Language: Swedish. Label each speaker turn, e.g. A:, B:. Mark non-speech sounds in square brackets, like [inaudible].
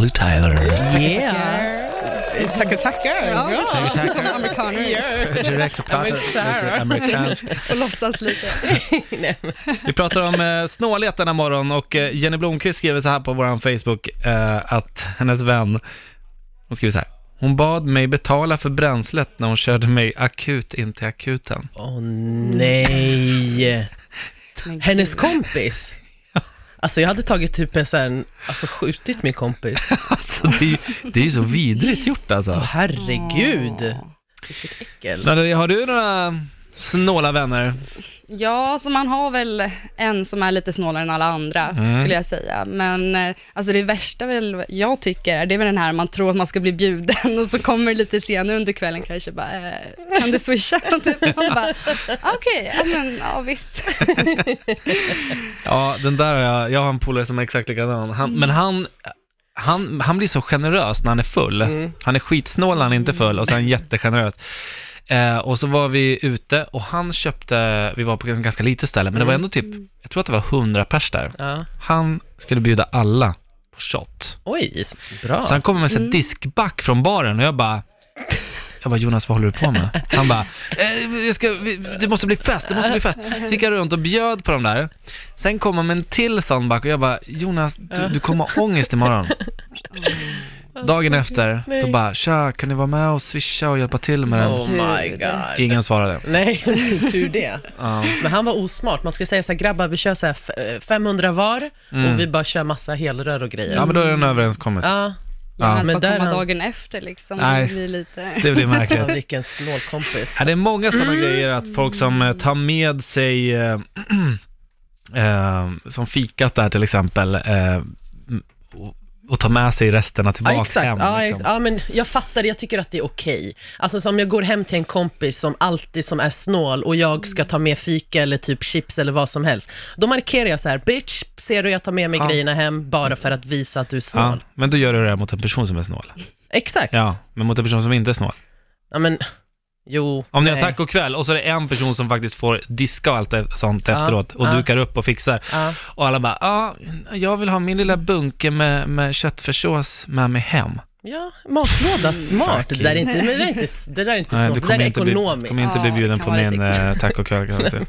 A: Bonnie Tyler.
B: Yeah!
C: Tackar, tackar.
B: Ja.
C: Bra.
A: Tackar, tackar.
C: Amerikaner. Yeah. [laughs]
A: Direkt och pratar
C: men så här.
A: lite amerikanskt.
B: Och låtsas lite.
C: Nej, men-
A: Vi pratar om eh, snålhet denna morgon och eh, Jenny Blomqvist skriver så här på vår Facebook eh, att hennes vän, hon skriver så här. Hon bad mig betala för bränslet när hon körde mig akut in till akuten. [laughs]
C: Åh nej! Hennes kompis? Alltså jag hade tagit typ en sån, alltså skjutit min kompis.
A: Alltså det är ju, det är ju så vidrigt gjort alltså.
C: Åh herregud! Vilket äckel.
A: Nadja, har du några snåla vänner?
D: Ja, så man har väl en som är lite snålare än alla andra, skulle jag säga. Men eh, alltså det värsta väl jag tycker, det är väl den här man tror att man ska bli bjuden och så kommer det lite senare under kvällen kanske bara, eh, kan du swisha? [laughs] Typ. Man bara, okej, ja, men ja visst.
A: Ja, den där har jag, jag har en polare som är exakt likadan. Han, Men han, han, han blir så generös när han är full. Han är skitsnål när han inte är full och sen jättegenerös. Eh, och så var vi ute och han köpte, vi var på ett ganska litet ställe, men det var ändå typ, jag tror att det var 100 pers där.
C: Ja.
A: Han skulle bjuda alla på shot.
C: Oj, bra.
A: Så han kommer med sig
C: Mm.
A: diskback från baren och jag bara, jag bara Jonas, vad håller du på med? Han bara, eh, vi ska, vi, det måste bli fest, det måste bli fest. Så gick jag runt och bjöd på de där. Sen kom han med en till sån back och jag bara, Jonas, du, du kommer ha ångest imorgon.
C: Mm.
A: Dagen efter, då bara, tja, kan ni vara med och swisha och hjälpa till med den?
C: Oh my god.
A: Ingen svarade.
C: Nej, [laughs] tur det.
A: Ja.
C: Men han var osmart. Man ska säga så här, grabbar vi kör så här f- eh, 500 var och vi bara kör massa helrör och grejer.
A: ja, men då är det en överenskommelse.
C: Ja,
A: Ja,
D: Ja,
C: men där
D: men bara komma
C: han-
D: dagen efter liksom,
A: Nej.
D: det blir lite...
A: Det blir
C: ja,
A: märkligt.
C: vilken snål kompis.
A: Ja, det är många sådana
C: Mm.
A: grejer att folk som eh, tar med sig, eh, [clears throat] eh, som fikat där till exempel, eh, m- och, och tar med sig resterna tillbaka
C: Ja, exakt.
A: hem.
C: ja,
A: liksom.
C: ex- ja, men jag fattar, jag tycker att det är okej. Alltså som jag går hem till en kompis som alltid som är snål och jag
A: Mm.
C: ska ta med fika eller typ chips eller vad som helst. Då markerar jag så här, bitch, ser du jag tar med mig
A: Ja.
C: grejerna hem bara för att visa att du är
A: Ja,
C: snål.
A: men då gör du det här mot en person som är snål.
C: Exakt. Ja.
A: Ja, men mot en person som inte är snål.
C: men, jo.
A: Om ni har
C: nej.
A: tack och kväll och så är det en person som faktiskt får diska och allt det- sånt
C: Ja,
A: efteråt och
C: ja.
A: dukar upp och fixar.
C: Ja.
A: Och alla bara, ja, jag vill ha min
C: Mm.
A: lilla bunke med, med köttfärssås med mig hem.
C: Ja, matlåda, smart. Det där är inte, men det där är inte, det där är inte
A: Nej,
C: snålt, det
A: du
C: där
A: kommer
C: är
A: inte bli,
C: ekonomiskt.
A: kommer inte bli
D: Ja,
A: bjuden
D: kan
A: på
D: vara
A: min
D: lite-
A: eh, taco kväll. kan jag säga.